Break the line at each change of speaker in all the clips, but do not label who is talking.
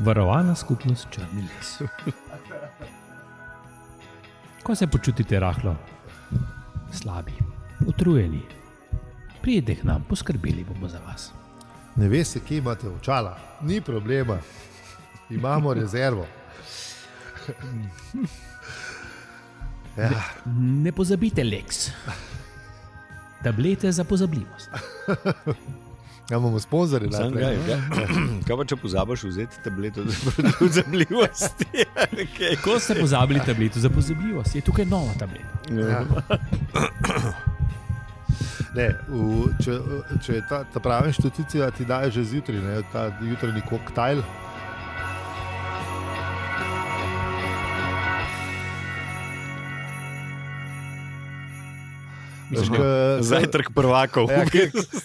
Varovana skupnost Črni les. Ko se počutite rahlo, slabi, utrujeni, pridite k nam, poskrbeli bomo za vas.
Ne veste, kje imate očala, ni problema, imamo rezervo. Ja,
Ne pozabite, Lex. Tablete za pozabljivost.
ja imamo sponzorje
Sam
najprej.
Kaj, kaj, kaj pa, če pozabiš vzeti tableto za predzemljivost?
Ko ste pozabili tableto za pozabljivost, je tukaj nova tableta.
Ja. Ne, v, če, če je ta, ta prava inštitucija, ti daje že zjutraj, ne, ta jutranji koktajl. K-
Zajtrk prvakov.
Ja,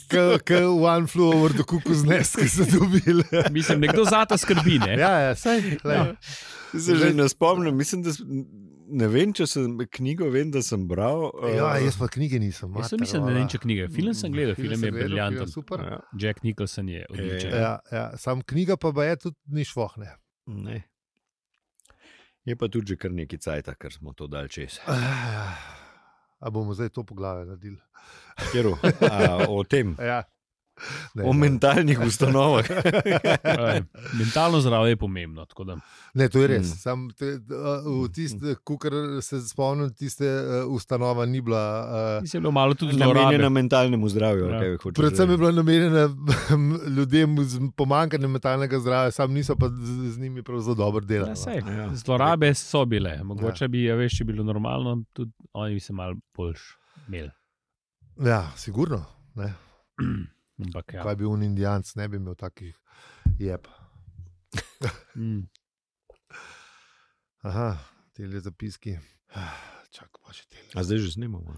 Kot one flew over the cuckoo's nest, ki so dobili.
Mislim, nekdo za ta skrbi. Ne?
Ja, ja, saj. Ja.
Se že ne spomnim, mislim, da s- ne vem, če sem knjigo, vem, da sem bral. eh,
ja, jaz pa knjige
Jaz
nisem.
sem
mater,
mislil, da ne
ona.
vem, če knjige. Film sem gledal, film,
sem
je
gledal, film
briljanten.
Super.
ja.
Jack Nicholson je odličen.
Ja.
E,
Ja, ja, sam knjiga pa ba je tudi ni švohne.
Ne. Je pa tudi že kar nekaj cajt, ker smo to dal čez.
A bomo zdaj to poglavje naredili?
Kjeru, a, o tem,
Ja. Ne,
o
ne.
mentalnih ustanovah.
mentalno zdravje je pomembno. tako da-
Ne, to je res.
Mm.
Mm. Sam, te, uh, tist, kukar se spomnim, tiste uh, ustanova ni bila. Uh,
Mislim, da je bilo malo tudi
Namenjena
zlorabe.
mentalnemu zdravju.
Ja.
ali kaj hočeš
predvsem je
reči.
bila namenjena ljudem z pomankanjem mentalnega zdravja, sam niso pa z, z njimi prav za dobro delali.
Ja,
no.
sej,
Ja.
zlorabe so bile, mogoče bi, ja, veš, če bi bilo normalno, tudi oni bi se malo boljš imeli.
Ja, sigurno. Ne.
Ampak,
Ja.
ja.
Kaj bi un indijanc, ne bi imel takih jeb.
Mm.
Aha, te zapiski. Čakaj, pa še te.
A zdaj že snimamo.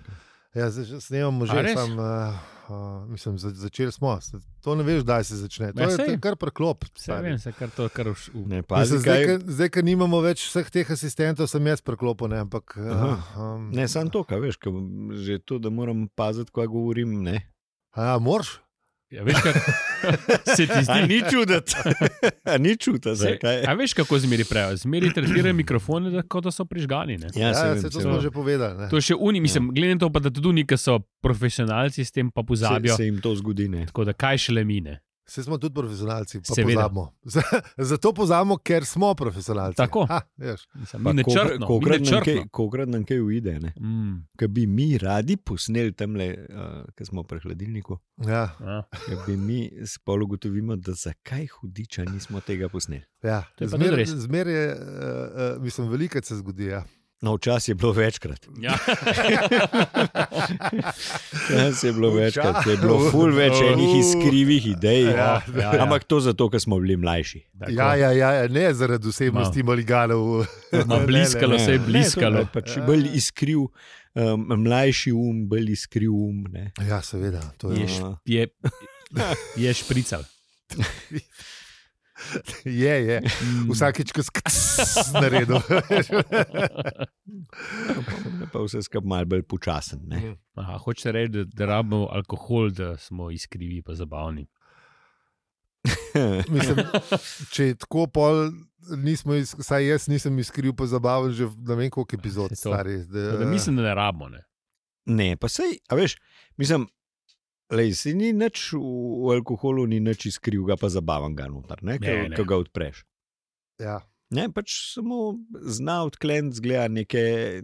Ja, zdaj že snemamo že,
A res?
sam, uh, uh, mislim, za, začeli smo. Se- To ne veš, kdaj se začne. To
Ja,
je
sej.
to je kar preklop.
Vse vem, se kar to kar už v.
Ne,
Pazi,
pazi,
mislim, zdaj,
kaj,
ker, zdaj, ker nimamo več vseh teh asistentov, sem jaz preklopil, ne, ampak.
Aha.
Uh, um,
ne samo to, kaj veš, kaj, že to, da moram paziti, kaj govorim. Ne.
a, moraš?
Ja, veš, kar, se ti
A
zdi,
ni čuditi, a ni čuditi,
se, a
zakaj.
veš, kako zmeri pravijo? Zmeri tretirajo mikrofone, da- kot da so prižgani. Ne?
Ja,
saj
ja,
vem,
se to
saj
smo
vem.
že povedali. ne.
To je še uni, mislim, ja. glede na to, pa, da tudi neki so profesionalci, s tem pa pozabijo.
se,
Se, se.
se jim to zgodi. Ne.
Tako da kaj šele mine.
Vse smo tudi profesionalci, pa
Seveda.
pozabimo. Zato pozabimo, ker smo profesionalci.
Tako.
Ha, veš.
Mislim,
Pa
mi
kolikrat-
nečrtno, mi
kolikrat nam kaj-
nečrtno.
Kolikrat nam kaj uide, ne.
Mm,
ki bi mi radi posneli tam, uh, ki smo pri hladilniku,
ja,
ja.
ki bi mi spolu ugotovili, da zakaj hudiča nismo tega posneli.
ja.
To je pa tudi
Zmer,
res.
zmer je, uh, uh, mislim, veliko se zgodi. Ja.
No, včasih je bilo večkrat.
Ja.
Včasih je bilo večkrat, je bilo ful več enih iskrivih idej. no.
Ja,
ja, ja.
Ampak to zato, ker smo bili mlajši.
Tako. No.
Ja, ja, ja, ja, ne zaradi osebnosti maliganov.
Ma bliskalo se je
Ne,
bliskalo.
to je Pač bolj iskriv, um, mlajši um, bolj iskriv um. Ne.
Ja, seveda. To
Je,
je,
š, je, je šprical.
je, je.
Mm.
Vsakič, ko skrs naredil.
Je Pa vse skupaj malo bolj počasen. Ne.
Aha, hočete reči, da, da rabimo alkohol, da smo iskrivi in zabavni.
Mislim, če je tako pol, nismo, iz- vsaj jaz nisem izkril po zabavi že ne vem koliko epizod.
Se to-
Stari,
Tako
da,
Da mislim, da ne rabimo. Ne?
Ne, pa sej, a veš, mislim, lej, sej ni nič v, v alkoholu, ni nič izkrivga, pa zabavan ga noter, ne,
Ne, ne.
ki ga odpreš.
ja.
Ne, pač samo zna odkleniti, zgleda neke, eh,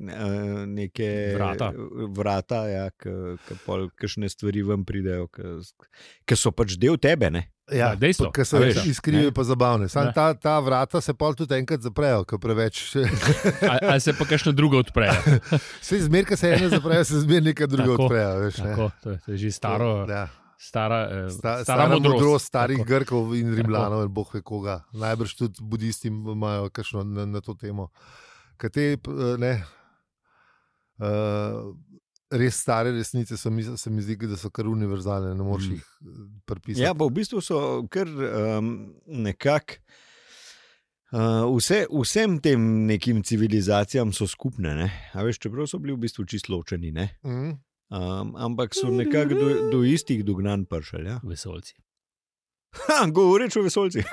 neke
Vrata.
vrata ja, kakšne stvari ven pridejo, ki so pač del tebe. Ne?
Ja,
Ja,
dejstvo,
Ker so
a
več
veš,
iskrivi,
ne.
pa zabavni.
Ne.
Sam ta, ta vrata se pol tudi enkrat zaprejo, ker preveč.
Ali, ali se pa kakšno drugo odpre.
Vse zmerka se ena zaprejo, se zmerka neka druga
Tako,
odprejo. Veš, ne.
Tako, to, je, to je že staro,
Ja.
stara, eh,
Sta,
stara, stara modrost.
starih
Tako.
tako. Grkov in Rimljanov, in boh ve koga. Najbrž tudi budisti imajo kakšno na, na to temo. Kaj te eh, ne, uh, res stare resnice so, mi- se mi zdi, da so kar univerzalne, ne
Mm.
moreš jih eh,
Ja,
prepisati.
pa v bistvu so kar um, nekako. Uh, vse, vsem tem nekim civilizacijam so skupne, ne? A veš, čeprav so bili v bistvu čisto ločeni. Ne?
Mm,
Um, ampak so nekako do, do istih dognanj prišli. Ja?
Vesolci.
Ha, govoreč o vesolcih.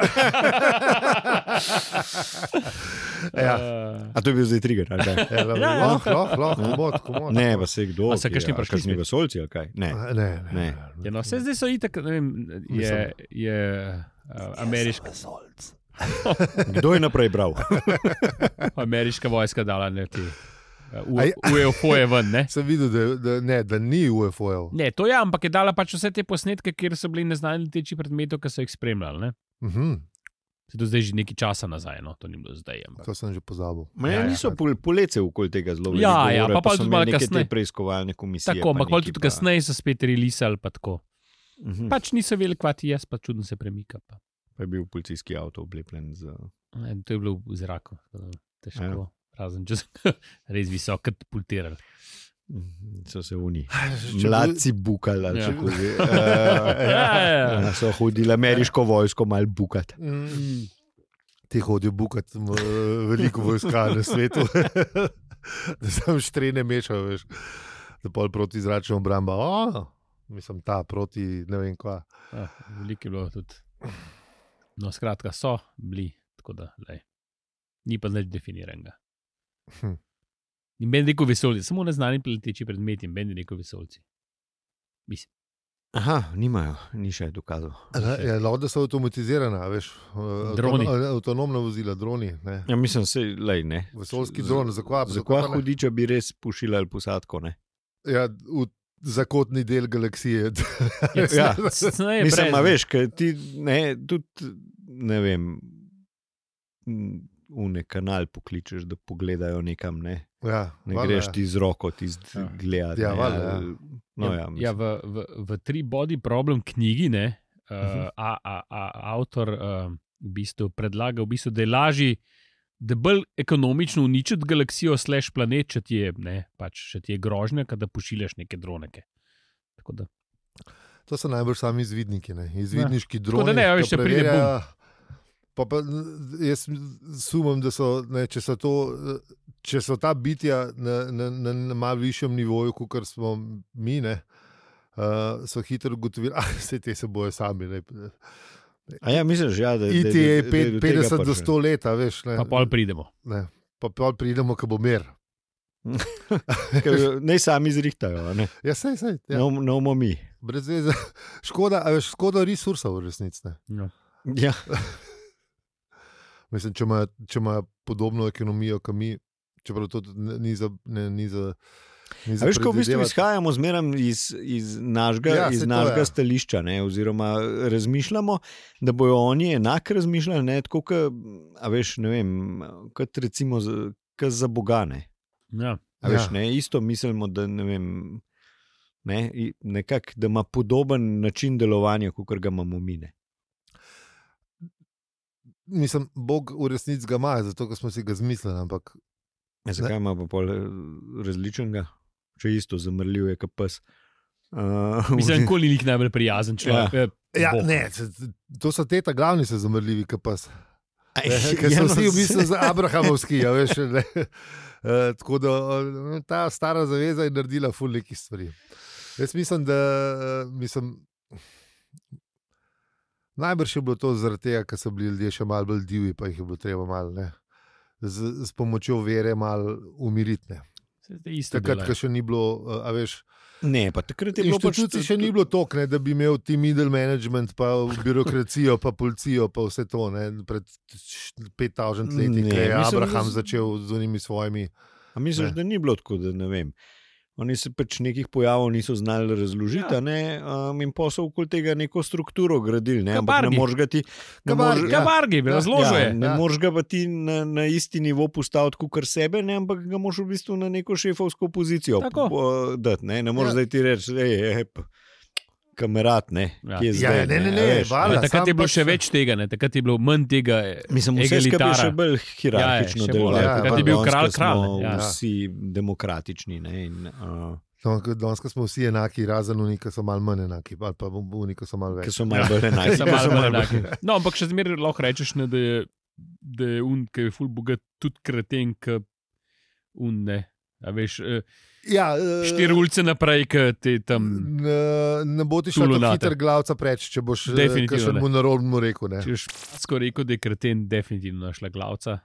Ja.
Eh,
A to je bil zdaj trigger, ali kaj?
Ja, dobro.
Ja, ja.
Lahko, lahko, lahko, komod, komod.
Ne, pa se kdo.
A so
ki-
kakšni
a
prišli
kakšni
spet?
vesolci ali kaj? Ne.
Eh, Ne, ne.
Ne.
Ja, no, vse zdaj so itak, ne vem, je, je eh, ameriška,
Kdo je naprej bral?
ameriška vojska dala ne ti.
Aj.
UFO-je ven, ne?
Sem videl, da, da, ne, da ni E UFO-jev.
Ne, to je, ampak je dala pač vse te posnetke, kjer so bili neznani teči predmetov, ki so jih spremljali. Ne?
Mhm,
Se to zdaj že nekaj časa nazaj, no, to ni bilo zdaj. Ampak.
to sem že pozabil.
Ma,
Ja,
ja,
ja.
niso pol, polece okoli tega zelo veliko.
Ja, ja,
govora,
pa pol
so
tudi
imeli
malo
neke te
kasneje.
Preiskovalne komisije.
Tako, ampak
pa
pol
neki
tudi
pa-
kasneje so spet relisali, pa tako.
Mhm.
Pač niso vedeli, kva ti je, pa čudno se premika. Pa.
Pa je bil policijski avto oblepljen z.
Ne, to je bilo v zraku, tako da
Ja.
težko. Razen če so res visoko pultirali.
So se oni.
Če bi-
Mladci bukali, ali
Ja.
kako že.
Ja, ja, ja.
eh, So hodili ameriško vojsko mal bukat.
Mm. Ti hodijo bukati m, veliko vojska na svetu, da se tam štrene mešajo, veš. da pol proti zračnemu obrambu. Mislim, ta proti ne vem kva.
Ah, Veliko je bilo tudi. No, skratka, so bili, tako da lej. ni pa nič definiranega.
Hm.
In meni rekel vesolci, samo neznani leteči predmeti, in meni rekel vesolci.
Aha, nimajo, ni še dokazov.
Ja, ja, Lahko da so avtomatizirana, a veš. eh,
Droni.
avtono- avtonomna vozila, droni. Ne.
Ja, mislim, se lej ne.
Vesoljski dron, zakaj-
Za
zakaj
kva
pa ne?
hudiča bi res pošiljali ali posadko, ne?
Ja, v zakotni del galaksije.
Ja.
Cne,
Mislim, a veš, ker ti ne, tudi, ne vem, v nek kanal pokličeš, da pogledajo nekam, ne,
ja,
ne
valjda,
greš
ja.
ti z roko, ti z
Ja.
gledati.
Ja,
ne,
valjda, ja.
ali- No, ja,
ja,
mislim.
v, v, v tri body problem knjigi, ne, uh,
Mhm.
a, a, a, avtor uh, v bistvu predlaga, v bistvu, da je lažje, da je bolj ekonomično uničiti galaksijo, slash planet, če ti je, ne, pač, če ti je grožnja, kad da pošiljaš neke droneke. Tako da
To so najbolj sami izvidniki, ne? izvidniški ja.
da
droni.
ne, a
ki
veš, če pride
preverjajo- Pa pa, jaz sumim, da so, ne, če, so to, eh, če so ta bitja na, na, na, na malo višjem nivoju, kot smo mi, ne, uh, so hitro ugotovili, da se te se boje sami. Ne.
A ja, misliš, ja, da
IT je
da- da- da
E pet-
do tega pač
50 do
prišel.
100 let, a veš. Ne,
pa pol pridemo.
ne, pa pol pridemo, ko bo mir.
Ker Naj sami zrihtajajo, ne
Ja, sej, sej, ja. No.
No, no, bomo mi.
Brez veze. Škoda, a veš, škoda resursov v resnici. ne.
No.
Ja.
Mislim, če ima, če ima podobno ekonomijo, kot mi, čeprav to tudi ne- ni za. Ne, ni za ni
A
za
Veš, ko v bistvu
predvidevati.
izhajamo zmeraj iz, iz našega,
Ja,
ja,
saj
iz
to,
našega
ja.
ja. stališča, ne, oziroma razmišljamo, da bodo oni enako razmišljali, ne, tako kot, a veš, ne vem, kot recimo za, kot za bogane.
Ja.
A
Ja.
Veš, ne, isto mislimo, da ne vem. Ne, i- nekak, da ima podoben način delovanja, kot ga imamo mi. ne.
Mislim, Bog v resnici ga ima, zato ker smo si ga izmislili. Ampak
Ja, Zakaj ima pa pol eh, različnega, če isto zamrljiv je, kot pes. Uh,
Mislim, nikoli ni najbolj prijazen človek. Ja.
ja, ne, se- to so te ta glavni se zamrljivi, ki pa so. Ker
ja,
so
no,
vsi v
se-
bistvu za abrahamovski, ja, veš. Ne. Eh, Tako da eh, ta stara zaveza je naredila ful nekih stvari. Jaz mislim, da eh, mislim, najbrž je bilo to zaradi tega, ker so bili ljudje še malo bolj divji, pa jih je bilo treba malo ne, z, z pomočjo vere malo umiriti. ne. Takrat, ko še ni bilo, eh, a veš,
Ne, pa takrat je bilo pač
inštitucij
to-
še ni bilo toliko, ne, da bi imel ti middle management, pa birokracijo, pa policijo, pa vse to. Ne, pred š- 5000 leti
Ne,
ko je
mislim,
Abraham
da z-
začel z unimi svojimi.
A
Ne.
misliš, ne. da ni bilo tako, da ne vem. Oni se pač nekih pojavov niso znali razložiti,
Ja.
ja. ne, um, in pa so okoli tega neko strukturo gradili. Ne,
Ka
ampak ne
Barbie.
moreš ga ti, ne
Ka
moreš-
Barbie,
Ja, Vargi,
Ja.
razložil
ja,
je.
ne
Ja.
moreš ga pa ti na, na isti nivo postaviti kot sebe, ne, ampak ga moraš v bistvu na neko šefovsko pozicijo
Tako.
po- dati. Ne, ne moreš
Ja.
ja. zdaj ti reči, da je kamerat, ne,
Ja.
ja. ki je
Ja,
zdaj.
ne, ne,
a
ne,
veš.
valjda.
Ja, takrat
sam
je bilo
pač-
še več tega, ne? takrat je bilo manj tega. eh,
Mislim, vse skupaj je še
egalitara.
bolj hierarhično
še
ja,
bolj,
ja,
delovalo. kot
ja.
pa
Takrat je
bil
danes,
kralj
ko smo
kralj, ne, ja.
Vsi demokratični. Ne, in, uh,
No, ko- Danes ko smo vsi enaki, razen oni, ki so malo manj enaki, ali pa oni, ki so malo
Ki
več.
so malo bolj enaki.
Samo Ja.
ki
malo
so
bolj
malo bolj-
enaki. No, ampak še zmeraj lahko rečeš, ne, da je, da je un, ki je ful bogat, tudi kreten, ki un ne. A veš, eh,
Ja, eh, Mm,
štiri ulice naprej, ki te tam.
Ne, ne bo ti šel tako
tulunate.
hiter glavca preč, če boš
Definitivno
še
ne.
mu narodno rekel. Ne.
Če boš skoro rekel, da je kreten, definitivno našla glavca.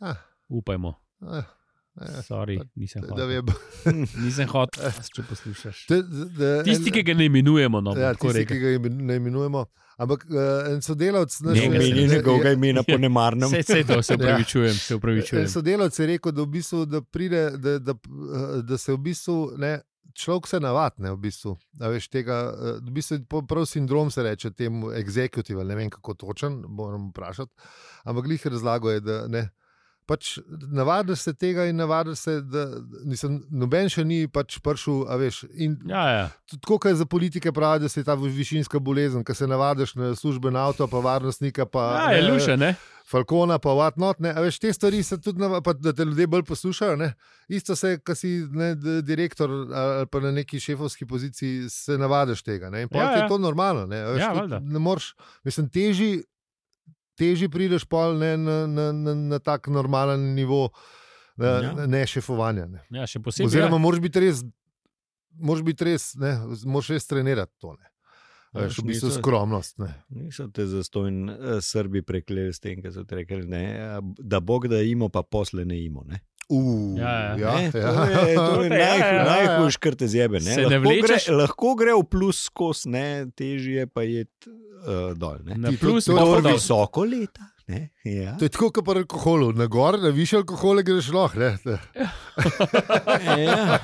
Ah.
Upajmo.
Eh, eh,
Sorry,
pa-
nisem
Da
hotel.
vem. Eh.
Nisem hotel, če poslušaš.
Te- da-
Tisti,
en-
ki ga ne imenujemo, no,
ja,
ja,
tisti, ki
rekel.
ga imen- ne imenujemo. Ampak eh, en sodelavec naš
Ne,
Ne
Njega
omeni
se-
njegovega imena po
no,
nemarnem.
Vse, vse
Ja.
to se upravičujem, se
En
upravičujem.
sodelavec je rekel, da, v bistvu, da, pride, da, da, eh, da se v bistvu ne, človek se navadne. V bistvu, A veš, tega, eh, v bistvu, po- prav sindrom se reče temu executive, ali ne vem kako točen, moram vprašati. Ampak jih razlago je, da ne. Pač navadiš se tega in navadiš se, da nisem, noben še ni pač prišel, a veš. In
Ja, ja.
tudi Tako kot za politike pravi, da se je ta višinska bolezen, ki se navadiš na služben avto, pa varnostnika, pa
ja, je
ne,
luša, ne?
Falkona, pa whatnot, ne, a veš, te stvari se tudi, nava- pa, da te ljudje bolj poslušajo. Ne. Isto se, ki si ne, d- direktor ali pa na neki šefovski poziciji, se navadiš tega. Ne. In
Ja,
ja,
ja.
je to normalno. Ne, a veš,
Ja,
tudi
valjda.
ne moreš, mislim, teži, teži prideš pol ne, na, na, na, na tak normalen nivo ne,
Ja.
ja. ne šefovanja. Ne.
Ja, še posebej.
Oziroma,
ja.
moraš biti res, moraš biti res, ne, moraš res trenirati to. Ne. A
Ja,
Veš, v bistvu
niso-
skromnost. Ne.
Niso te zastojni eh, Srbi prekleli s tem, kar so ti rekli, ne, eh, da bog da imo, pa posle ne imo. Ne.
Uh,
Ja, ja.
Ne, to
ja.
je, to je
Ja, ja,
najhu-
ja.
najhujš, kar te zebe. Ne.
Se ne
Lahko gre-
vlečeš?
Lahko gre v plus skozi, ne, težje pa je uh, dol. Ne.
ja. Na
Ti
plus,
tudi to
pa
Kdor
dol.
visoko leta. Ne, ja.
To je tako kot pri alkoholu, na gor, na više alkohole greš lahko. ne.
ja.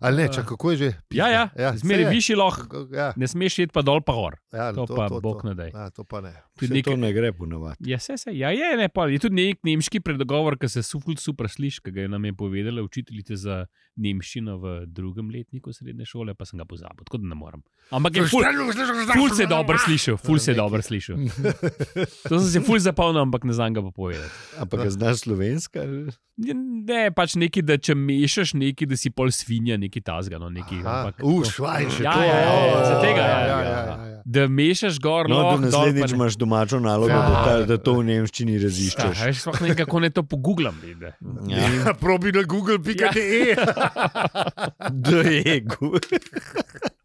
Ali ne, čak, kako je že?
Ja, ja,
Ja,
zmeri
se je.
višji lahko.
Ja,
Ne smeš iti pa dol, pa gor.
ja,
To pa bog ne daj.
Ja, to pa ne.
Tudi
Saj
nek-
To ne gre ponovadi.
Ja, se, se, ja, je, ne, pa, je tudi nek nemški predogovor, ki se suful super sliši, ki ga je nam je povedala učiteljica za nemščino v drugem letniku srednje šole, pa sem ga pozabil, tako da ne morem. Ampak je ful, ful se je dobro slišal, ful se je dobro slišal. To sem se ful zapomnil, ampak ne znam ga pa povedati.
Ampak ga znaš slovenska? ali?
Ne, Ne, pač neki, da če mešaš neki, da si pol svinja, neki tazga, no, neki.
Aha,
ampak
Uh,
tako,
švaj, še
Ja,
to.
ja, ja, ja,
o,
za tega,
ja,
ja,
ja,
ja.
ja, ja.
Da mešaš gor,
No,
loh,
do
dol, pa
naslednjič
ne.
imaš domačo nalogo, da, ta, da to v nemščini
Ja,
raziščeš.
veš, sploh ne vem, kako ne to pogooglam. vidi.
Ja.
Ja, Probi na google.de,
Ja.
Dojegu.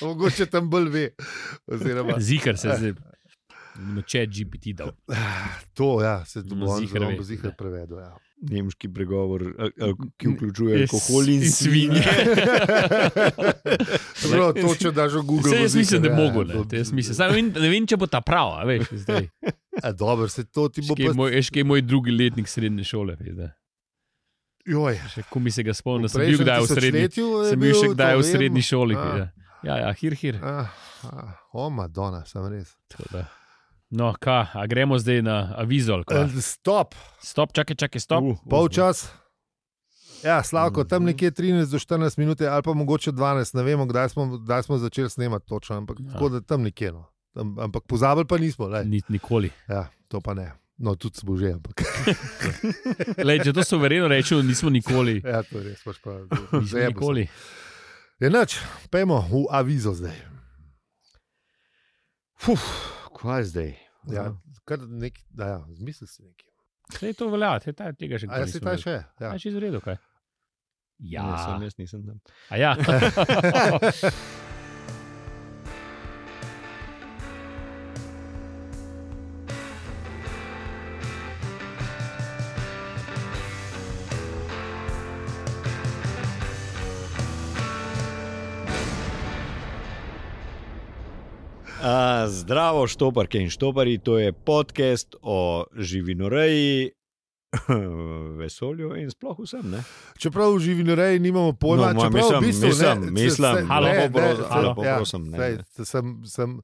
mogoče tam bolj ve. Oziroma,
Zikar se zdaj. Če je GPT dal.
to, ja, se to
No,
bo on
ziher
zelo
ve.
zihar prevedel. Ja.
Nemški pregovor, al- al- ki vključuje alkohol in
In svinje.
svinje.
Se pravi, to, če daš v Google.
Vse
bo
jaz mislim, da
ziher, ja,
mogo. Ne,
to-
to jaz mislim. Zdaj, ne vem- ne vem, če bo ta prava. Veš, zdaj.
A, E, Dobro, se to ti bo
Škej je
pa.
moj, veš, kaj je moj drugi letnik srednje šole. veš, da.
Joj,
Še ko mi se ga spomnim, da sem bil
prejšnjem
kdaj v srednji,
tisočletju je
sem bil še
to
kdaj v
vem.
srednji šoli.
A.
veš, da. Ja, ja, hir, hir.
Ah, ah, o, Madonna, sem res.
Tako da. No, ka, a gremo zdaj na avizol. ka?
Eh, Stop,
Stop, čakaj, čakaj, stop.
Uh,
polčas. Ja, Slavko, tam
Mhm.
nekje 13 do 14 minut, ali pa mogoče 12, ne vemo, kdaj smo, kdaj smo začeli snemati točno, ampak
Ja. Mm.
tako da tam nekje. No. Tam, ampak pozabili pa nismo, lej.
Ni, nikoli.
ja, to pa ne. No, tudi smo že, ampak
Lej, če to suvereno rečemo, nismo nikoli.
ja, to je res. pač Pa,
Nismo
zajebil sem.
nikoli.
Je noč, pojmo Ja, v avizo zdaj.
Fuf, kva zdaj?
Ja, kar nek, da, ja, zmisli si nekaj.
Sej to velja, saj ta- tega še
A ja,
nikoli.
si ta še? Ja.
Ja, še izredo kaj. Ja,
Ne, sem jaz nisem tam.
A ja.
A, zdravo, štoparke in štoparji, to je podcast o živinoreji, vesolju in sploh vsem. Ne?
Čeprav v živinoreji nimamo pojma,
No, ma,
no, čeprav
mislim,
v bistvu
mislim,
ne,
mislim,
halo,
halo,
saj-
halo, prosim, ne,
saj,
ne.
saj sem, sem,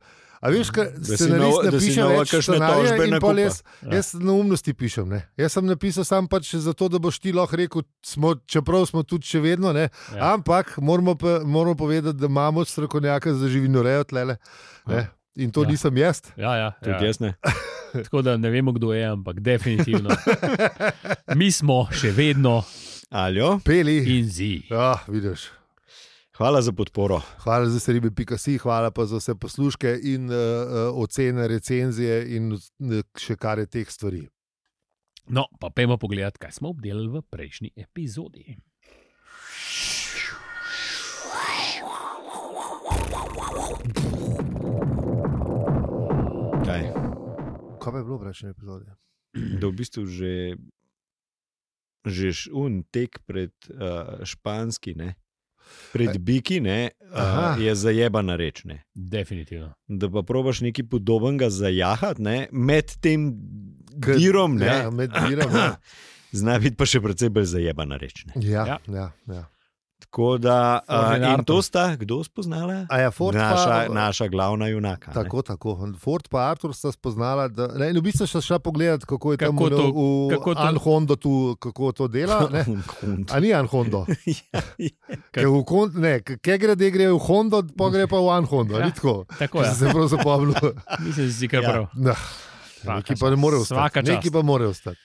a veš, kaj
si
scenarist
nova- da si
napiše
nova
več
kakšne
scenarija
tožbe
in pol
nakupa.
jaz,
Ja.
jaz neumnosti pišem. Ne. Jaz sem napisal sam pač zato, da boš ti lahko rekel, smo, čeprav smo tudi še vedno, ne,
Ja.
ja. ampak moramo, pa, moramo povedati, da imamo strokovnjaka za živinorejo tlele. Ne. In to
Ja.
ja. nisem jaz.
Ja, ja,
Tudi
ja.
jaz ne.
Tako da ne vemo, kdo je, ampak definitivno. Mi smo še vedno
Aljo,
Peli.
in zi.
Ja, vidiš.
hvala za podporo.
Hvala za seribe, pika si, hvala pa za vse posluške eh, in uh, ocene, recenzije in eh, še kar je teh stvari.
No, pa pojmo pogledat, kaj smo obdelali v prejšnji epizodi.
Kaj?
Kaj pa je bilo v prejšnji epizodi?
Da v bistvu že, že š- un tek pred uh, španski, ne? pred biki, ne,
Aha.
uh, je zajebana reč. Ne?
Definitivno.
Da pa probaš nekaj podobnega zajahati, ne? med tem
K-
dirom, ne,
Ja, med dirom. ja.
zna biti pa še precej bolj zajebana reč. Ne?
Ja,
Ja.
ja. ja, ja.
Tako da,
Ford
uh,
in
in
Arthur.
to sta, kdo spoznala?
A ja, Ford
naša,
pa,
naša glavna junaka. ne.
Tako, tako. Ford pa Artur sta spoznala, da ne, in v bistvu sta šla pogledat, kako je
Kako
tam v-
to-
v
kako to-
Anhondo tu, kako to dela. Ne?
Hunt.
A ni Anhondo.
ja.
Kaj v kon, ne, kaj gre, da gre v Hondo, pa gre pa v Anhondo.
Ja.
Ja. Tako,
Tako je.
če sem se prav zapomnil.
Mislim, da si kar
Ja.
prav.
Ja.
Svaka
Neki pa
čast.
ne more
Svaka
ostati.
čast.
Neki pa more ostati.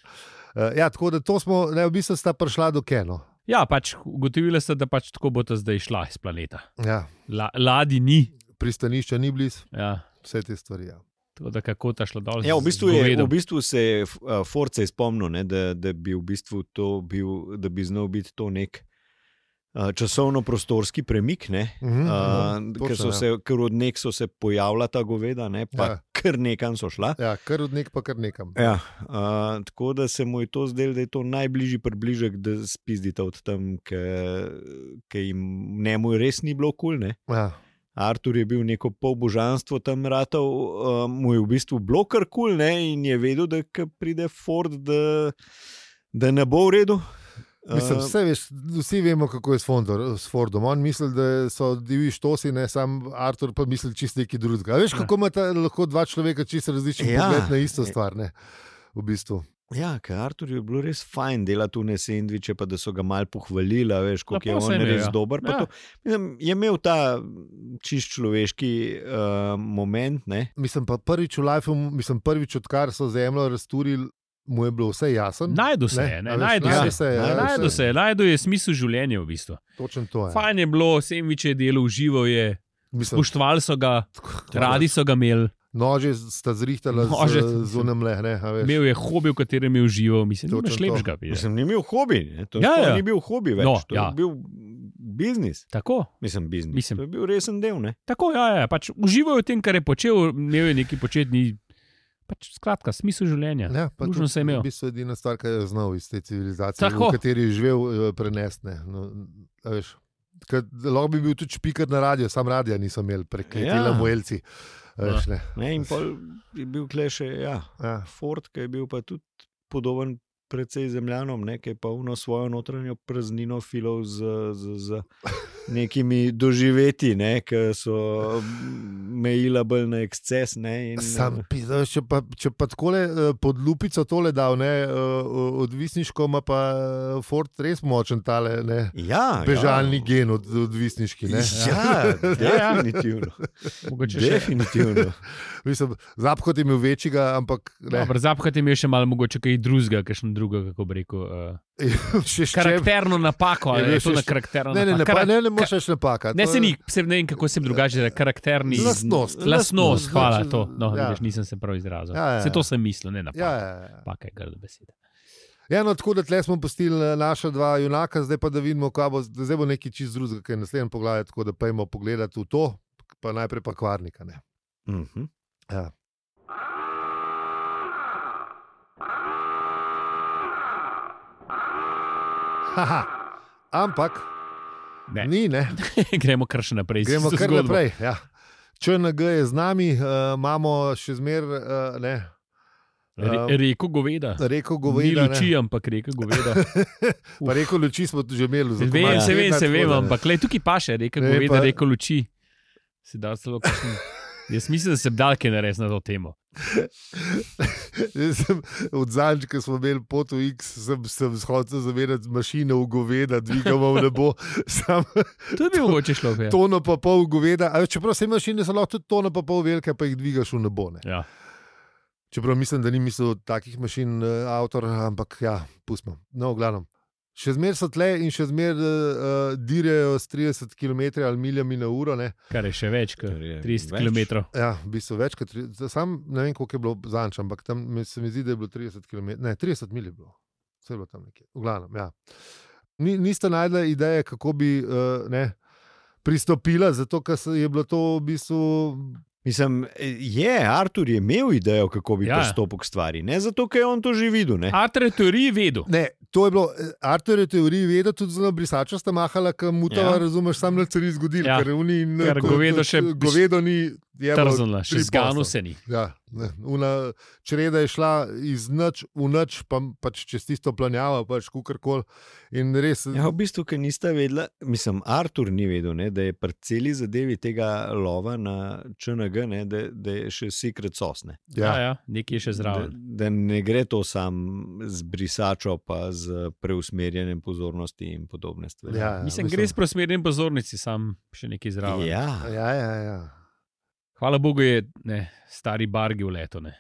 Uh, ja, tako da to smo, ne, v bistvu sta prišla do Keno.
Ja, pač ugotovili ste, da pač tako bo ta zdaj šla iz planeta.
Ja,
La, ladi ni.
pristanišča ni blizu,
Ja.
vse te stvari. Ja.
Tako da kako ta šla dol.
Ja, v bistvu, je, v
bistvu...
bistvu se je F- a, Ford se je spomnil, ne, da, da bi v bistvu to bil, da bi znal biti to nek a, časovno-prostorski premik. Ne,
Mhm,
a,
mhm,
Eh, ker,
točno,
so se, ker od nek so se pojavljala ta goveda, ne, pa
Ja.
ja. kar nekam so šla.
ja. ja, kar od nek pa kar nekam.
Ja, a, tako da se mu je to zdelo, da je to najbližji približek, da spizdita od tam, ki jim njemu res ni bilo kul. Cool,
Ja.
Artur je bil neko polbožanstvo tam ratov, uh, mu je v bistvu bilo kar kul cool, in je vedel, da ko pride Ford, da, da ne bo v redu. Eh,
Mislim, vse, veš, vsi vemo, kako je s, Fondor, s Fordom. On misli, da so divji štosi, ne sam Artur, pa misli čisto nekaj drugega. A Veš, kako imata lahko dva človeka čisto različen
Ja.
ja. pogled na isto stvar. Ne? V bistvu.
ja, ker Artur je bilo res fajn delati tune sendviče, pa da so ga mal pohvalili, a veš, kako je
Lepo se
on
jim je,
res
ja.
dober.
Ja.
Ja. Mislim, je imel ta čist človeški uh, moment, ne?
Mislim pa prvič v lifeu, mislim prvič odkar so zemljo razturili, mu je bilo vse jasno.
Najdu se, je,
A
ne,
veš,
najdu se.
najde se, ja,
Najdu
vse.
se, najdu je smisel življenja v bistvu.
Točno to je.
Fajn je bilo, semiče je delo, užival je,
Mislim,
spoštovali so ga, radi so ga imeli,
nože sta zrihtala
Nože,
z, z unem lehne.
imel je hobi, v katerem je užival, mislim,
Točno
da je
to.
lepšega. bi je.
Mislim, ni imel hobi, ne? to
Ja,
ja,
ja.
ja. ni bil hobi več,
No,
to
ja.
je bil biznis.
Tako,
Mislim, biznis.
Mislim.
To je bil resen del. Ne?
tako, ja, ja, pač užival je v tem, kar je počel, imel je neki početni, pač skratka, smisel življenja.
Ja, pa
Lužno
tudi
se je imel.
V bistvu je edina stvar, ki jo je znal iz te civilizacije,
Tako.
Tako. v kateri je živel, prenesne. No, a veš, ker Lahko bi bil tudi špiker na radio, sam radio niso imeli, prekletela
Ja.
ja. muelci. a Veš,
Ja.
ne.
Ne, in pol je bil klej še ja,
ja.
Ford, ki je bil pa tudi podoben precej zemljanom, ne, ki je pa uno svojo notranjo praznino filov z, z, z nekimi doživeti, ne, ki so mejila bolj na eksces. Ne, in,
eh,
Sam, pizda, veš, če pa, če pa takole eh, pod lupico tole dal, ne, eh, odvisniško ima pa eh, Ford res močen tale, ne,
Ja,
bežalni
ja.
gen od odvisniški. Ne.
Ja, definitivno.
Mogoče še-
definitivno.
Mislim, Zapkot je imel večjega, ampak ne,
Dobro, Zapahati je imel še malo, mogoče kaj drugega, kakšno drugo, kako bi rekel. Uh,
še ščep.
karakterno napako,
Je
ali
bil
je to
še
na
št-
karakterno
Ne, ne, ne,
napako.
pa,
Kara-
ne, ne moreš več napakati.
ne,
To
se
je-
ni, se ne vem, kako sem drugače rekel, karakterni.
Lastnost.
Lastnost, hvala, to. No, ja.
Ja.
vidiš, nisem se prav izrazil.
Ja, ja,
Se to
ja.
sem mislil, ne
Ja,
napako.
ja, ja.
Pa kaj grdo besede.
ja no, tako da tle smo pustili eh, naša dva junaka, zdaj pa da vidimo, kaj bo, zdaj bo nekaj čist drugega, kaj je naslednji pogled, tako da pojmo pogledati v to, pa najprej pa kvarnika. Ne.
Mhm.
Ja. Haha, ampak
Ne.
ne. ni, ne.
Gremo kar še naprej. z
gremo
isto
kar
zgodbo.
naprej. Ja. ČNG je z nami, uh, imamo še zmeraj uh, ne,
Re,
Ja.
reko goveda.
reko
Ni
goveda.
luči, ja. ampak reko goveda.
Pa reko luči smo tu že imeli,
Se
zelo
vem, se vem, se vem ampak le, tukaj pa še reka
Ne,
goveda,
pa-
reko luči. Si dal celo kakšen. Jaz mislim, da se dal kaj narediti na to temo.
Od zadnjič, ko smo imeli pot v X, sem, sem shodil zavedati mašine v goveda, dvigamo v nebo, sam
To bi mogoče šlo. ja.
tono pa pol goveda. A čeprav se mašine so lahko tudi tono pa pol velike, pa jih dvigaš v nebo. Ne.
Ja.
Čeprav mislim, da ni mislil takih mašin eh, avtor, ampak ja, pustimo. No, v glavnem. Še zmeraj so tle in še zmeraj uh, dirajo s 30 km ali miljami na uro. Ne.
kar je še več kot
Kar je
30
več.
km.
Ja, v bistvu več kot 30. Sam ne vem, koliko je bilo zanč, ampak tam mi- se mi zdi, da je bilo 30 km. Ne, 30 mil je bilo, vse je bilo tam nekje. V glavnem, ja. Ni, niste najdli ideje, kako bi uh, ne, pristopila, zato ker se- je bilo to v bistvu.
Mislim, je, Artur je imel idejo, kako bi
Ja.
ja. pristopil k stvari. Ne zato, ker je on to že videl. Ne?
Artur je teorij vedel.
Ne, to je bilo, eh, Artur je v teoriji vedel, tudi zelo brisača sta mahala, kam mutava, ja.
Ja.
razumeš, sam na cari zgodil,
Ja.
ja. ker oni in
Ker govedo še-
govedo ni. jebalo
Trzala, še
Ja, tri
zganu
posel.
se ni.
Ja, ne, una čreda je šla iz noč v noč, pa pač čez tisto planjavo, pač kukorkoli. In res,
Ja, v bistvu, ker nista vedela, mislim, Artur ni vedel, ne, da je pri celi zadevi tega lova na ČNG, ne, da, da je še secret sosne.
Ja,
ja,
ja, nekje je še
Da,
zraven.
da ne gre to sam z brisačo, pa z preusmerjanjem pozornosti in podobne stvari.
ja,
Mislim, gre s prosmernim pozornici, sam še nekaj zraven.
ja.
Ja, ja, ja.
Hvala Bogu je ne, stari bargi v leto. Ne.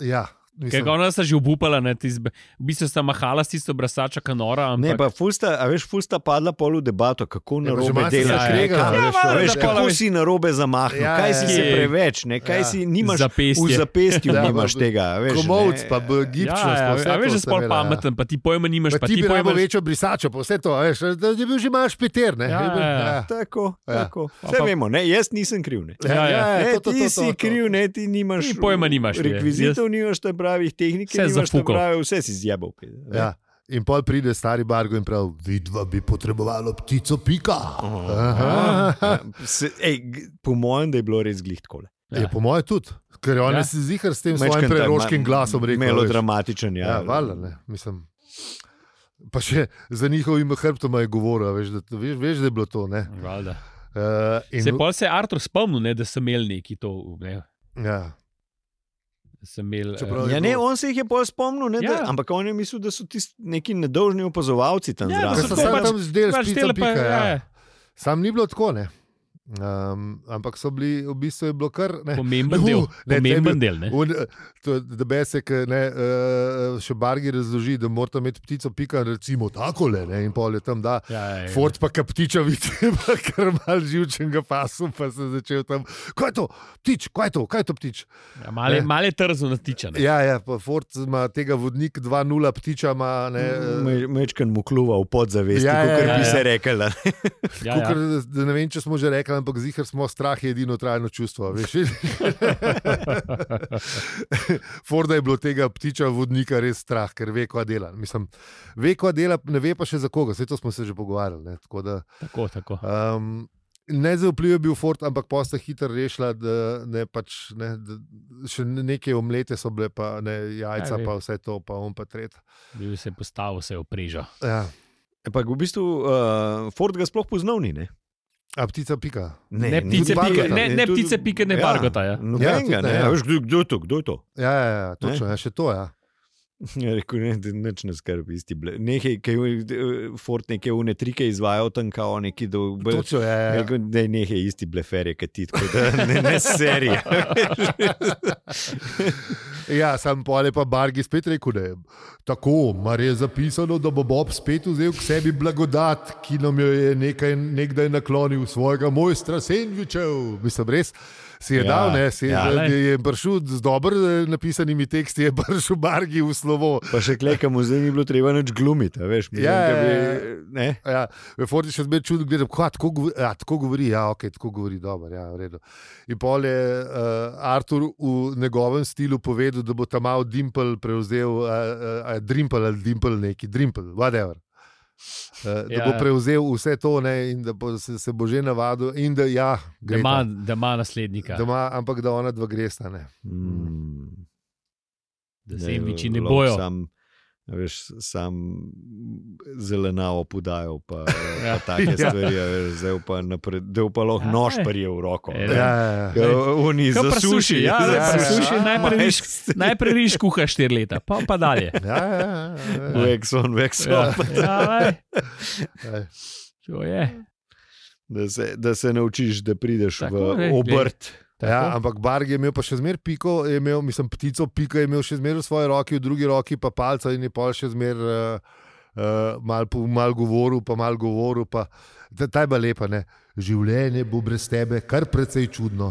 ja
Ker
mislim,
ga ona sta že obupala, ne, tis, v bistvu sta mahala s tisto brasača kanora. Ampak,
Ne, pa fulsta, a veš, fulsta padla pol v debato, kako
pa
na
že
robe
malo se
delaš. ne,
zakregala,
kaj-
veš,
a veš,
ja.
kako si na robe zamahnil,
Ja,
ja, kaj
ja,
si
ja.
se preveč, ne, kaj
Ja.
ja. si nimaš v
zapestje.
zapestju,
Ja,
nimaš
pa-
tega. a Veš,
komovc,
ne.
pa b- gibčnost, pa
ja,
vse
ja, a
to
veš, da si
sem
pol
imela, ja.
pameten, pa ti pojma nimaš,
Pa
pa
ti
ti
bi
pojma
imel večjo brisačo, pa vse to, a veš, da je bil že malo špiter. Ne?
Ja,
Je bil-
ja, ja.
Tako,
Ja.
tako.
Pa-
Vse
pa-
vemo, ne, jaz nisem kriv. Ne.
Ja, ja.
ja,
Ne,
to, to,
ti
to, to,
si
to.
kriv, ne, ti
Ti
nimaš
pojma nimaš, ne.
Rekvizitov nimaš te pravih, tehnik
Vse
nimaš te
zafukal.
prave, vse si zjebal. pe, ne.
Ja. In pol pride stari Bargo in pravi: Vidva bi potrebovala ptico, pika. Aha.
Ja, se- ej, g- Po mojem, da je bilo res glih tako.
Je po mojem tudi, ker on
Ja.
je si zihar s tem svojim preroškim glasom rekel. veš.
Melodramatičen, ja.
Ja, valjda, ne, mislim. Pa še za njihovim hrbtom je govoril, a veš, da, veš, veš, da je bilo to. Ne?
Valjda.
Uh,
Se pol se je Artur spomnil, ne, da sem imel neki to. Ne,
ja,
da sem imel, eh,
Čeprav-
Ja, ne, on se jih je pol spomnil, ne,
Ja.
da, ampak on je mislil, da so tisti neki nedolžni opazovalci tam
Ja, da
Ker
so
so
to
sam
pač-
tam zdel,
pač
špica,
tele pa-
pika,
ja,
ja.
ja.
Sam ni bilo tako, ne. Um, ampak so bili, v bistvu je bilo kar. Ne.
ja, pomemben del.
Uh, ne, to je
Pomemben
bil-
del ne.
Un, to, da bi se uh, še bargi razloži, da morata imeti ptico, pika, recimo tako le, in pol je tam da.
Ja, ja, ja.
Ford pa kaptiča vidi, pa kar mal živčnega pasu, pa se je začel tam. Kaj je to? Ptič, kaj je to? Kaj je to ptič?
Ja, Male,
Ne.
male trzno natiče. ne.
Ja, ja, pa Ford ima tega vodnik 2-0 ptiča, ima ne.
Mm,
eh,
Mečken mu kluva v podzavesti,
Ja,
ja,
ja,
kot
ja,
bi
ja.
se rekel. da.
Ja,
Kukor,
ja.
da ne vem, če smo že rekli, ampak zihar smo, strah je edino trajno čustvo. a Veš? Forda je bilo tega ptiča, vodnika res strah, ker ve, kva dela. Mislim, ve, kva dela, ne ve pa še za koga, vse to smo se že pogovarjali. Ne? Tako da
Tako, tako.
Um, Nezaupljiv je bil Ford, ampak posta hitro rešila, da ne pač. Ne, da še neke omlete so bile, pa ne, jajca,
Ja, vem.
pa vse to, pa on pa tret.
Bil se je postavil, se je oprežal.
Ja.
Ampak v bistvu uh, Ford ga sploh poznal ni. Ne,
A ptica pika.
Ne
ni
ptice
tudi
pike,
Bargota.
ne- ne
Tudi-
ptice pike, ne Bargota, ja.
Ja,
Nobenega,
tudi
ne.
ne, ja.
A Veš, kdo, kdo je to? Kdo je to?
Ja, ja, ja točno, ja, še to. Ja.
Ja, rekel, ne, da nič ne skrbi, isti ble. Nekaj, ki je eh, Ford neke une trike izvajal tam, kao neki dolg.
Točno, ja, ja, ja.
Rekel, da je nekaj isti bleferje, kot ti, tako da ne, ne serije.
ja sam pole pa Bargi spet rekel, da je tako, mar je zapisano, da bo Bob spet vzel k sebi blagodat, ki nam jo je nekaj, nekdaj naklonil svojega mojstra Sendvičev. Mislim, res si je
Ja,
ja, dal, ne, si je,
ja,
ja,
lej.
je prišel z dobro eh, napisanimi teksti, je prišel Bargi v slovo.
Pa še klekam, zdaj ni bilo treba nič glumiti, a veš. Mislim,
Ja,
da bi,
ja, ja.
ne.
Ja, Fordi še zmeraj čutim, gledam, kva, tako, govori, ja, tako govori, ja, ok, tako govori, dobro, ja, v redu. In pol je uh, Artur v njegovem stilu povedal, da bo tam mal Dimple prevzel, uh, uh, Dimple ali Dimple neki, Dimple, whatever. Uh, da
Ja,
ja. bo
ja.
prevzel vse to ne, in da bo, se, se bo že navadil, in da, ja,
Da
gre
ima, da ima naslednika,
da ima, ampak da ona dva gresta. Ne.
Mm.
da
Ne,
se jim veči ne
lahko
bojo.
Sam, a veš, sam zelenavo podajo, pa,
Ja.
ja. pa take
Ja.
stvari, a veš, zdaj pa, napred, zdaj pa lahko
Ja,
nož
ne.
prije v roko.
Ja,
Ja,
ne.
ja, ja.
Ja, Oni
Kaj pa suši,
zasuši,
ja,
ja,
zasuši.
prasuši,
najprej
Majs-
Najprej riš kuha štiri leta, pa pa dalje.
Ja, ja, ja, ja, ja.
Wax on, wax
Ja,
off.
ja, lej.
Ej.
To je.
Da se, da se naučiš, da prideš
Tako,
v
glej,
obrt.
Ja,
Tako.
ampak Barg je imel pa še zmeraj piko, je imel, mislim, ptico, pika je imel še zmeraj v svoji roki, v drugi roki pa palca in je pol še zmeraj uh, Uh, mal, po- mal govoril, pa mal govoril. Pa, ta, ta je bila lepa, ne? življenje bo brez tebe, kar precej čudno.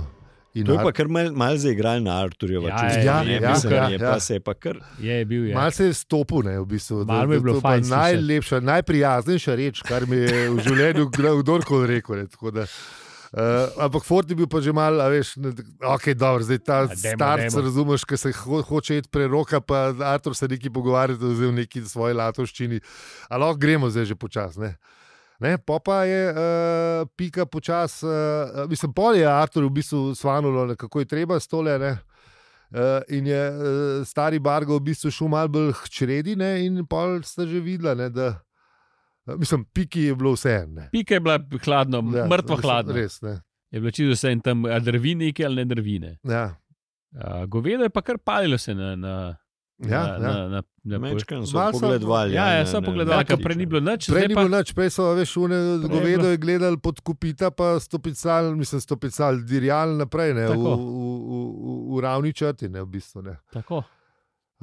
In
To je
Ar-
pa kar mal- malo mal zaigral na Arturjeva.
Ja,
čustva,
ja,
ne,
ja,
mislim,
ja,
je
ja.
pa se je pa kar.
Je bil je.
Mal se je stopil, ne, v bistvu.
Malo
To-
je ja. bilo
to pa
fajn slišati.
Najlepša, najprijaznejša reč, kar mi je v življenju kdo- kdorkoli rekel. Ne, tako da, Uh, ampak Ford je bil pa že mal, a veš, ne, ok, dobro, zdaj ta
dajmo,
starc,
dajmo.
razumeš, ki se ho, hoče iti preroka, pa Artur se neki pogovarjati v neki svoji latovščini. Ali lahko gremo zdaj že počasne. Ne, po pa je uh, pika počasi, uh, mislim, pol je Artur v bistvu svanulo, kako je treba stole. Ne, uh, in je uh, stari Bargo v bistvu šel malo bolj čredi, ne, in pol ste že videla, ne, da uh, mislim, piki je bilo vse. Ne.
Pika je bila hladna, ja, mrtvo
mislim,
hladna.
Res, ne.
Je bilo čisto vse in tam a drvine neke ali ne drvine.
Ja,
Uh, govedo je pa kar palilo se na. na na,
ja, ja.
na, na, na
Mečkan so
Malo so-
pogledovali.
Ja, ja, so pogledali,
kako
ker prej ni bilo nič,
Prej
zdaj
ni
pa
bilo nič, prej so veš, une
Prej je
govedo
bilo-
je gledali pod kupita, pa stopical, mislim, stopical, dirjal naprej, ne, v, v,
Tako.
v, v- v ravni črti, ne, v bistvu. Ne.
tako.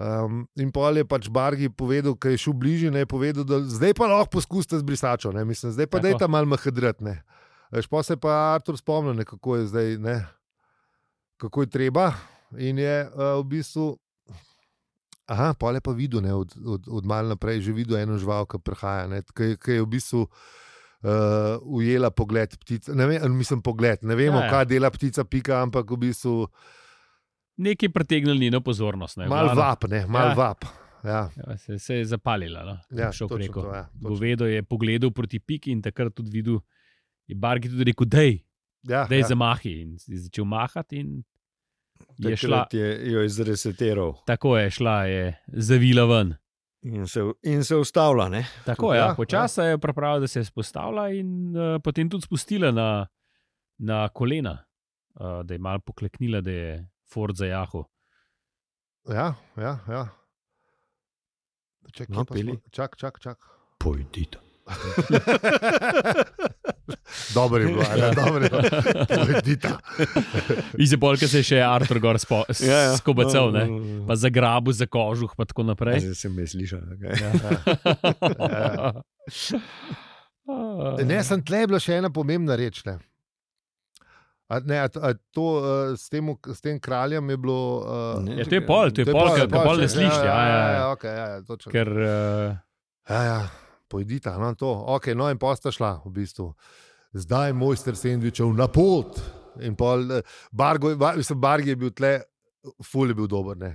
Um, in pol je pač Bargi povedal, ki je šel bližje, ne je povedal, da zdaj pa lahko poskusite z brisačo, ne mislim, zdaj pa
Tako.
da je tam malo mahadratne. Špo se je pa Artur spomnil, ne, kako je zdaj, ne, kako je treba. In je uh, v bistvu, aha, pol je pa videl, ne, od, od, od malo naprej, že videl eno žival, ki prihaja, ne, ki, ki je v bistvu. Uh, ujela pogled ptice, ne vem, mislim, pogled. Ne vemo,
Ja, ja.
kaj dela ptica, pika, ampak v bistvu
Nekaj pritegnili njeno pozornost. ne, v
malo
glavnem.
vap, ne, malo
Ja.
ja. vap. Ja.
Ja, se, se je zapalila. No?
Ja,
šel
točno
preko.
to, ja, točno.
Govedo je pogledal proti piki in takrat tudi videl, je Bargi tudi rekel, da
Ja,
je
ja.
zamahi. In je začel mahati in je
Je
šla.
šla. Je jo izresetiral
Tako je šla, je zavila ven.
in se, in se ustavlja. Ne?
Tako je, ja,
Ja,
počasi je pravila, da se je spostavila in uh, potem tudi spustila na, na kolena, uh, da je malo pokleknila, da je Ford zajahal.
Ja, ja. ja. Čak,
No,
no,
peli.
čak, čak. čak.
Pojdite.
Dobro je bilo,
Ja.
ali dobro je bilo. Pojdita.
Izjebolj, ki se je še Artur gor spo, ja, ja. skobacal,
No,
ne? pa za grabu, za kožuh, pa tako naprej.
Zdaj sem me slišal. kaj?
Ja.
Ne, sem tle je bila še ena pomembna reč. Ne. A, ne, a, a to, eh, s, tem, s tem kraljem je bilo. eh,
Ne.
Ja, to je pol, to je pol, kar pol ne
še,
slišiš. Ja, ja, ja.
okay, ja, ja, točno.
Ker uh,
Ja, ja, pojdita, no to. Okay, no, in posta šla, v bistvu. Zdaj je mojster sendvičev na pot. In pol, eh, Bargo, je- Bar- mislim, Barg je bil tle, ful je bil dober. Ne?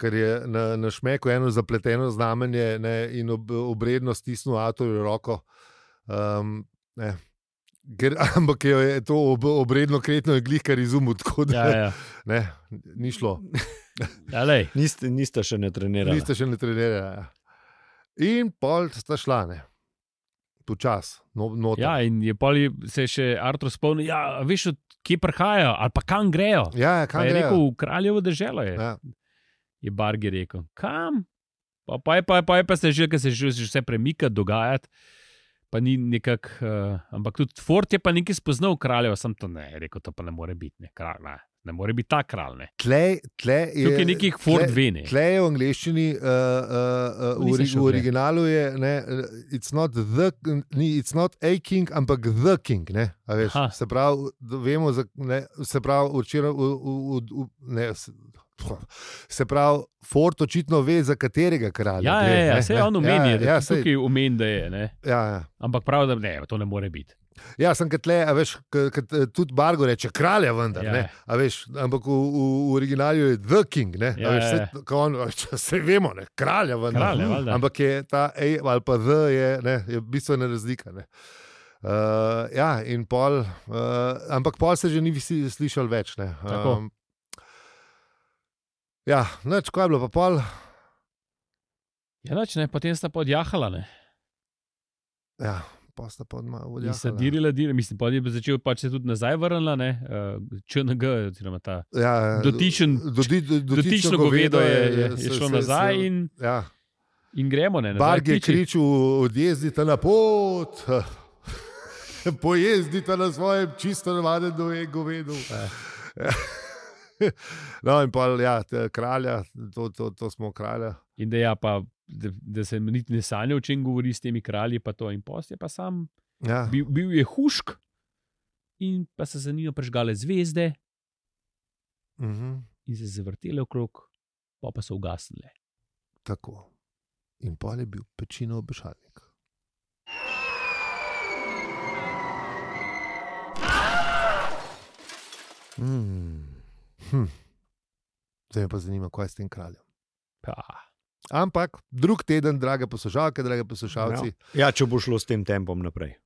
Ker je na, na šmeku eno zapleteno znamenje ne, in ob, obredno stisnil Atorju roko. Um, ne. Ker, ampak jo je to ob, obredno kretno je glih, kar izumil, tako da
ja,
ja, ja.
ja.
Ne, ni šlo.
Ja, lej,
Niste, niste še ne trenirali.
Niste še ne trenirali. ja. In pol sta šla, ne. Počas, no, noter.
ja, in je pol je- se je še Artur spomnil, ja, veš, od kje prihajajo ali pa kam grejo.
Ja, ja,
Kam
kaj
je
je
rekel, v kraljevo državo je.
Ja.
Je Bargi rekel, kam? Pa, pa, je, pa, je- pa je pa se že, ker se že že vse premika, dogajati. Pa ni nekako, uh, ampak tudi Fort je pa nekaj spoznal kraljevo, sem to ne, je rekel, to pa ne more biti, ne, kralj, ne, ne more biti ta kralj. Ne.
Tle, tle je,
Tukaj je neki Fort
tle-
Vene.
Tle je v angleščini, uh, uh, uh,
Nisem
v,
šel
ori, v
gledat.
originalu je, ne, eh, it's not, the, ni, it's not a king, ampak the king. Ne, a veš,
Aha.
se pravi, da vemo, za- ne, se pravi, včeraj, v, v, v, ne, se- se pravi, Ford očitno ve, za katerega kralja.
Ja,
gre,
ja, ja,
ne,
se
ne.
on omeni,
ja,
da
ja,
tudi
saj-
tukaj omeni, da je. Ne.
ja, ja.
Ampak prav, da ne, to ne more biti.
Ja, sem kot le, a veš, k- kot, eh, tudi Bargo reče, kralja, vendar.
Ja.
Ja. Veš, ampak v, v, v originalu je The King, ne,
Ja,
ja, veš,
ja,
se,
ja.
on, se vemo, ne, kralja, vendar.
Kralja, valjda.
ampak je ta A ali pa The je, ne, je bistvena razlika. Ne. Uh, ja, in pol, uh, ampak pol se že ni vsi slišali več. ne.
Tako.
ja, noč, ko je bilo pa pol,
Ja, noč, ne, potem sta podjahala. Ne.
ja, pol sta pa odmah
In sta
odjahali.
dirila, dirila, mislim, potem je začel pač se tudi nazaj vrnila, ne, uh, ČNG, oziroma ta
Ja,
dotičen-
doti, do,
dotično govedo je, je, je
se-
šlo
se-
nazaj
se-
in,
Ja.
in gremo. Ne, nazaj
Barg je
ptiči.
kričal, odjezdite na pot, pojezdite na svojem čisto navaden dove- govedu. No, in pa ja, te- kralja, to, to, to smo kralja.
In da ja, pa da, da se mi niti ne sanja, o čem govori s temi kralji, pa to in post je pa sam.
Ja.
Bil, bil je hušk in pa so se za njo prežgale zvezde
Mhm.
in se zavrtele okrog, pa pa so ugasnile.
Tako. In pol je bil pečino obešalnik. Mm. Hm. Zdaj me pa zanima, kaj je s tem kraljem.
Pa,
Ampak drug teden, drage poslušalke, drage poslušalci,
Ja, če bo šlo s tem tempom naprej.
ja.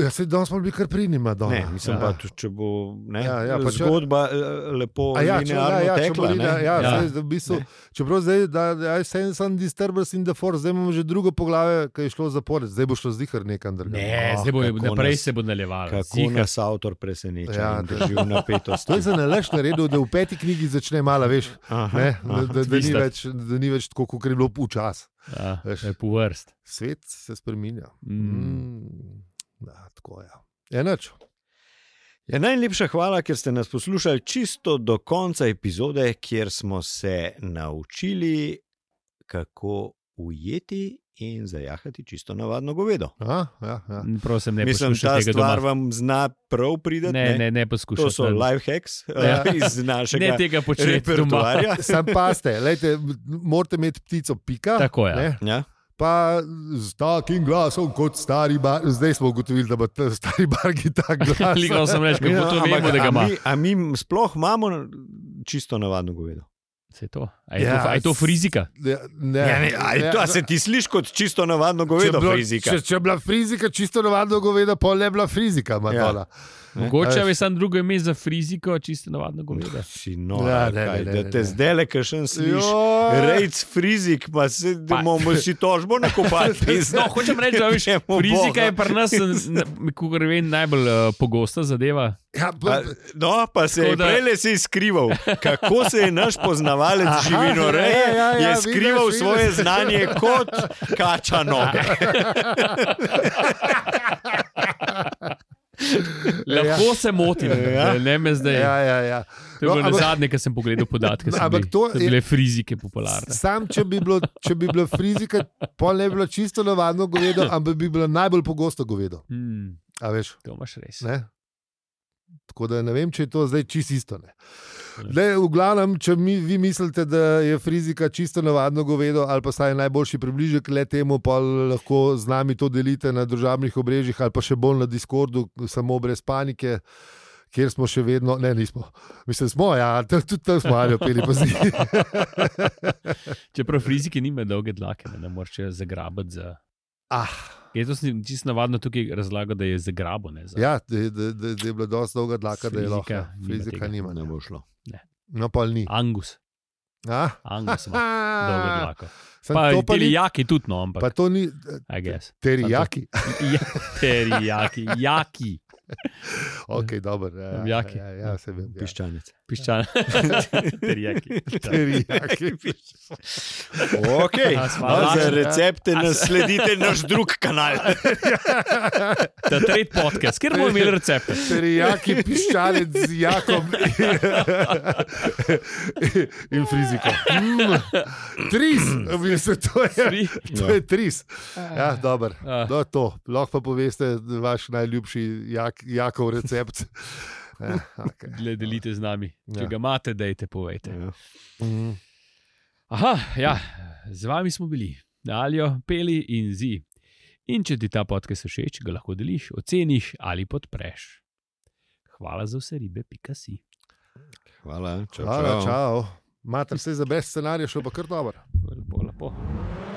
jaz se danes smo bili kar pri njima. Doma.
Ne, mislim
Ja.
ja. pa, tudi, če bo ne,
Ja,
ja,
ja,
ja,
pa če-
zgodba če... lepo
A Ja, če,
linearno
ja, ja, če
tekla.
bo linija-
ne.
ja,
Ja.
zdaj, v bistvu, čeprav zdaj, da, da ja, je vse en disturbance in the force, zdaj imamo že drugo poglavje, ki je šlo za porec, zdaj bo šlo zihar nekam drugam.
ne,
Ah,
zdaj bo
kako
naprej
nas-
se bo nadaljevalo.
Kako nas avtor preseneča,
Ja,
ja, drži v napetosti.
To je za nalaž naredil, da v peti knjigi začne malo več,
Aha,
ne, da, da, da, ni
tista.
več da ni več tako, kot je bilo včasih. Veš.
Po vrst.
Svet se spremenja.
Hmm.
Mm.
Mm. Da, tako je. Ja. Enač.
Ja, najlepša hvala, ker ste nas poslušali čisto do konca epizode, kjer smo se naučili, kako ujeti in zajahati čisto navadno govedo.
Ja, ja, ja.
Prosim, ne
Mislim,
poskušaj
ta
tega doma.
stvar vam zna prav priti.
Ne, ne, ne poskušaj.
To so life hacks
Ja.
ja. iz našega
Ne tega početi doma.
repertoarja.
Sam paste, lejte, morate imeti ptico, pika.
Tako je.
ne,
Ja.
Pa z takim glasom kot stari bar. Zdaj smo ugotovili, da ima ta stari bar tak glas.
Ligal sem reči,
Ja,
kako to
Ja, ampak
vemo, da ga
a
ima.
Mi, a mi sploh imamo čisto navadno govedo.
Se je to. A je,
Ja,
to, a je to frizika?
Ja, ne,
Ja, ne, a, je to, a se ti sliši kot čisto navadno govedo,
bilo-
frizika?
Če, če je bila frizika čisto navadno goveda, pa ne bila frizika. Ja.
Mogoče
a veš.
je samo drugo ime za friziko, čisto navadno goveda.
Si nor,
Ja,
ja,
ne, ne,
kaj,
ne,
da
ne,
te
ne.
zdaj le kašen slišiš. Rejc frizik, pa se
Pa-
bomo si tožbo nakopali.
No, hočem reči, da veš,
Gremo
frizika
boga.
je pri nas, kako vem, najbolj uh, pogosta zadeva.
Ja,
A,
pa,
No, pa se je
Tako da-
prele si skrival, kako se je naš poznavalec
Aha,
živinoreje
ja, ja, ja,
je
vidiš,
skrival
vidiš.
svoje znanje kot kača noge.
Lahko ja. se motim, ja.
Ja.
ne me zdaj. Ja.
ja, ja, ja.
To je bilo
No,
no,
ampak-
ampak, zadnje, ki sem pogledal podatke.
No,
No,
ampak
bili,
to
to so
je-
bile frizike popularne.
Sam, če bi, bilo, če bi bila frizika, pa ne bi bila čisto navadno govedo, ampak bi bila najbolj pogosto govedo.
Hmm,
A veš,
to imaš res.
ne? Tako da ne vem, če je to zdaj čisto isto. Ne?
Ja.
Ne, v glavnem, če mi, vi mislite, da je frizika čisto navadno govedo ali pa vsaj najboljši približek le temu, pa lahko z nami to delite na družabnih obrežjih ali pa še bolj na Discordu, samo brez panike. Ker smo še vedno, ne, nismo. Mislim, smo, ja, t- tudi tam smo ali opeli, pa si.
Čeprav frizike nimajo dolge dlake, ne, ne moreš jo zagrabiti. Za...
Ah,
Jaz to sem čisto navadno tukaj razlagal, da je zagrabo. Ne, za...
ja, da, da, da, da je bila dosta dolga dlaka, da je
Frizika
lahko. ja,
nima
Frizika
tega.
nima.
Ne
Ne.
bo šlo.
No, pa ni.
Angus,
Ah.
Angus ima dolgo dlako.
Samo
Pa,
to pa ni.
terijaki tudi, no,
Pa
ampak.
to ni
I guess.
terijaki.
Ja, terijaki, jaki,
Ok, dobro. Ja, ja,
Jaki.
ja, ja, se vem. Ja.
Piščanec.
piščan. terijaki.
Terijaki.
Okay.
Ja, sva
No, za
lažna.
recepte nasledite naš drug kanal.
Ta tretji podcast, kjer bomo imeli recepte.
Terijaki, piščalec z jakom in friziko. Mm, tris,
Mm.
v bistvu to je.
Tri.
To je tris. Ja, dobro.
Ah.
No, to. Lahko pa poveste vaš najljubši jak, jakov recept. Eh, okay.
Le delite z nami. Če
Ja.
ga imate, dajte povejte.
Ja.
Mhm,
Mm.
Aha, ja, z vami smo bili, Aljo, Peli in Zi. In če ti ta podcast všeč, ga lahko deliš, oceniš ali podpreš. Hvala za vse ribe, pika si.
Hvala, čau,
Hvala, čau. Mater se je za brez scenarija šlo pa kar dobro.
Lepo, lepo.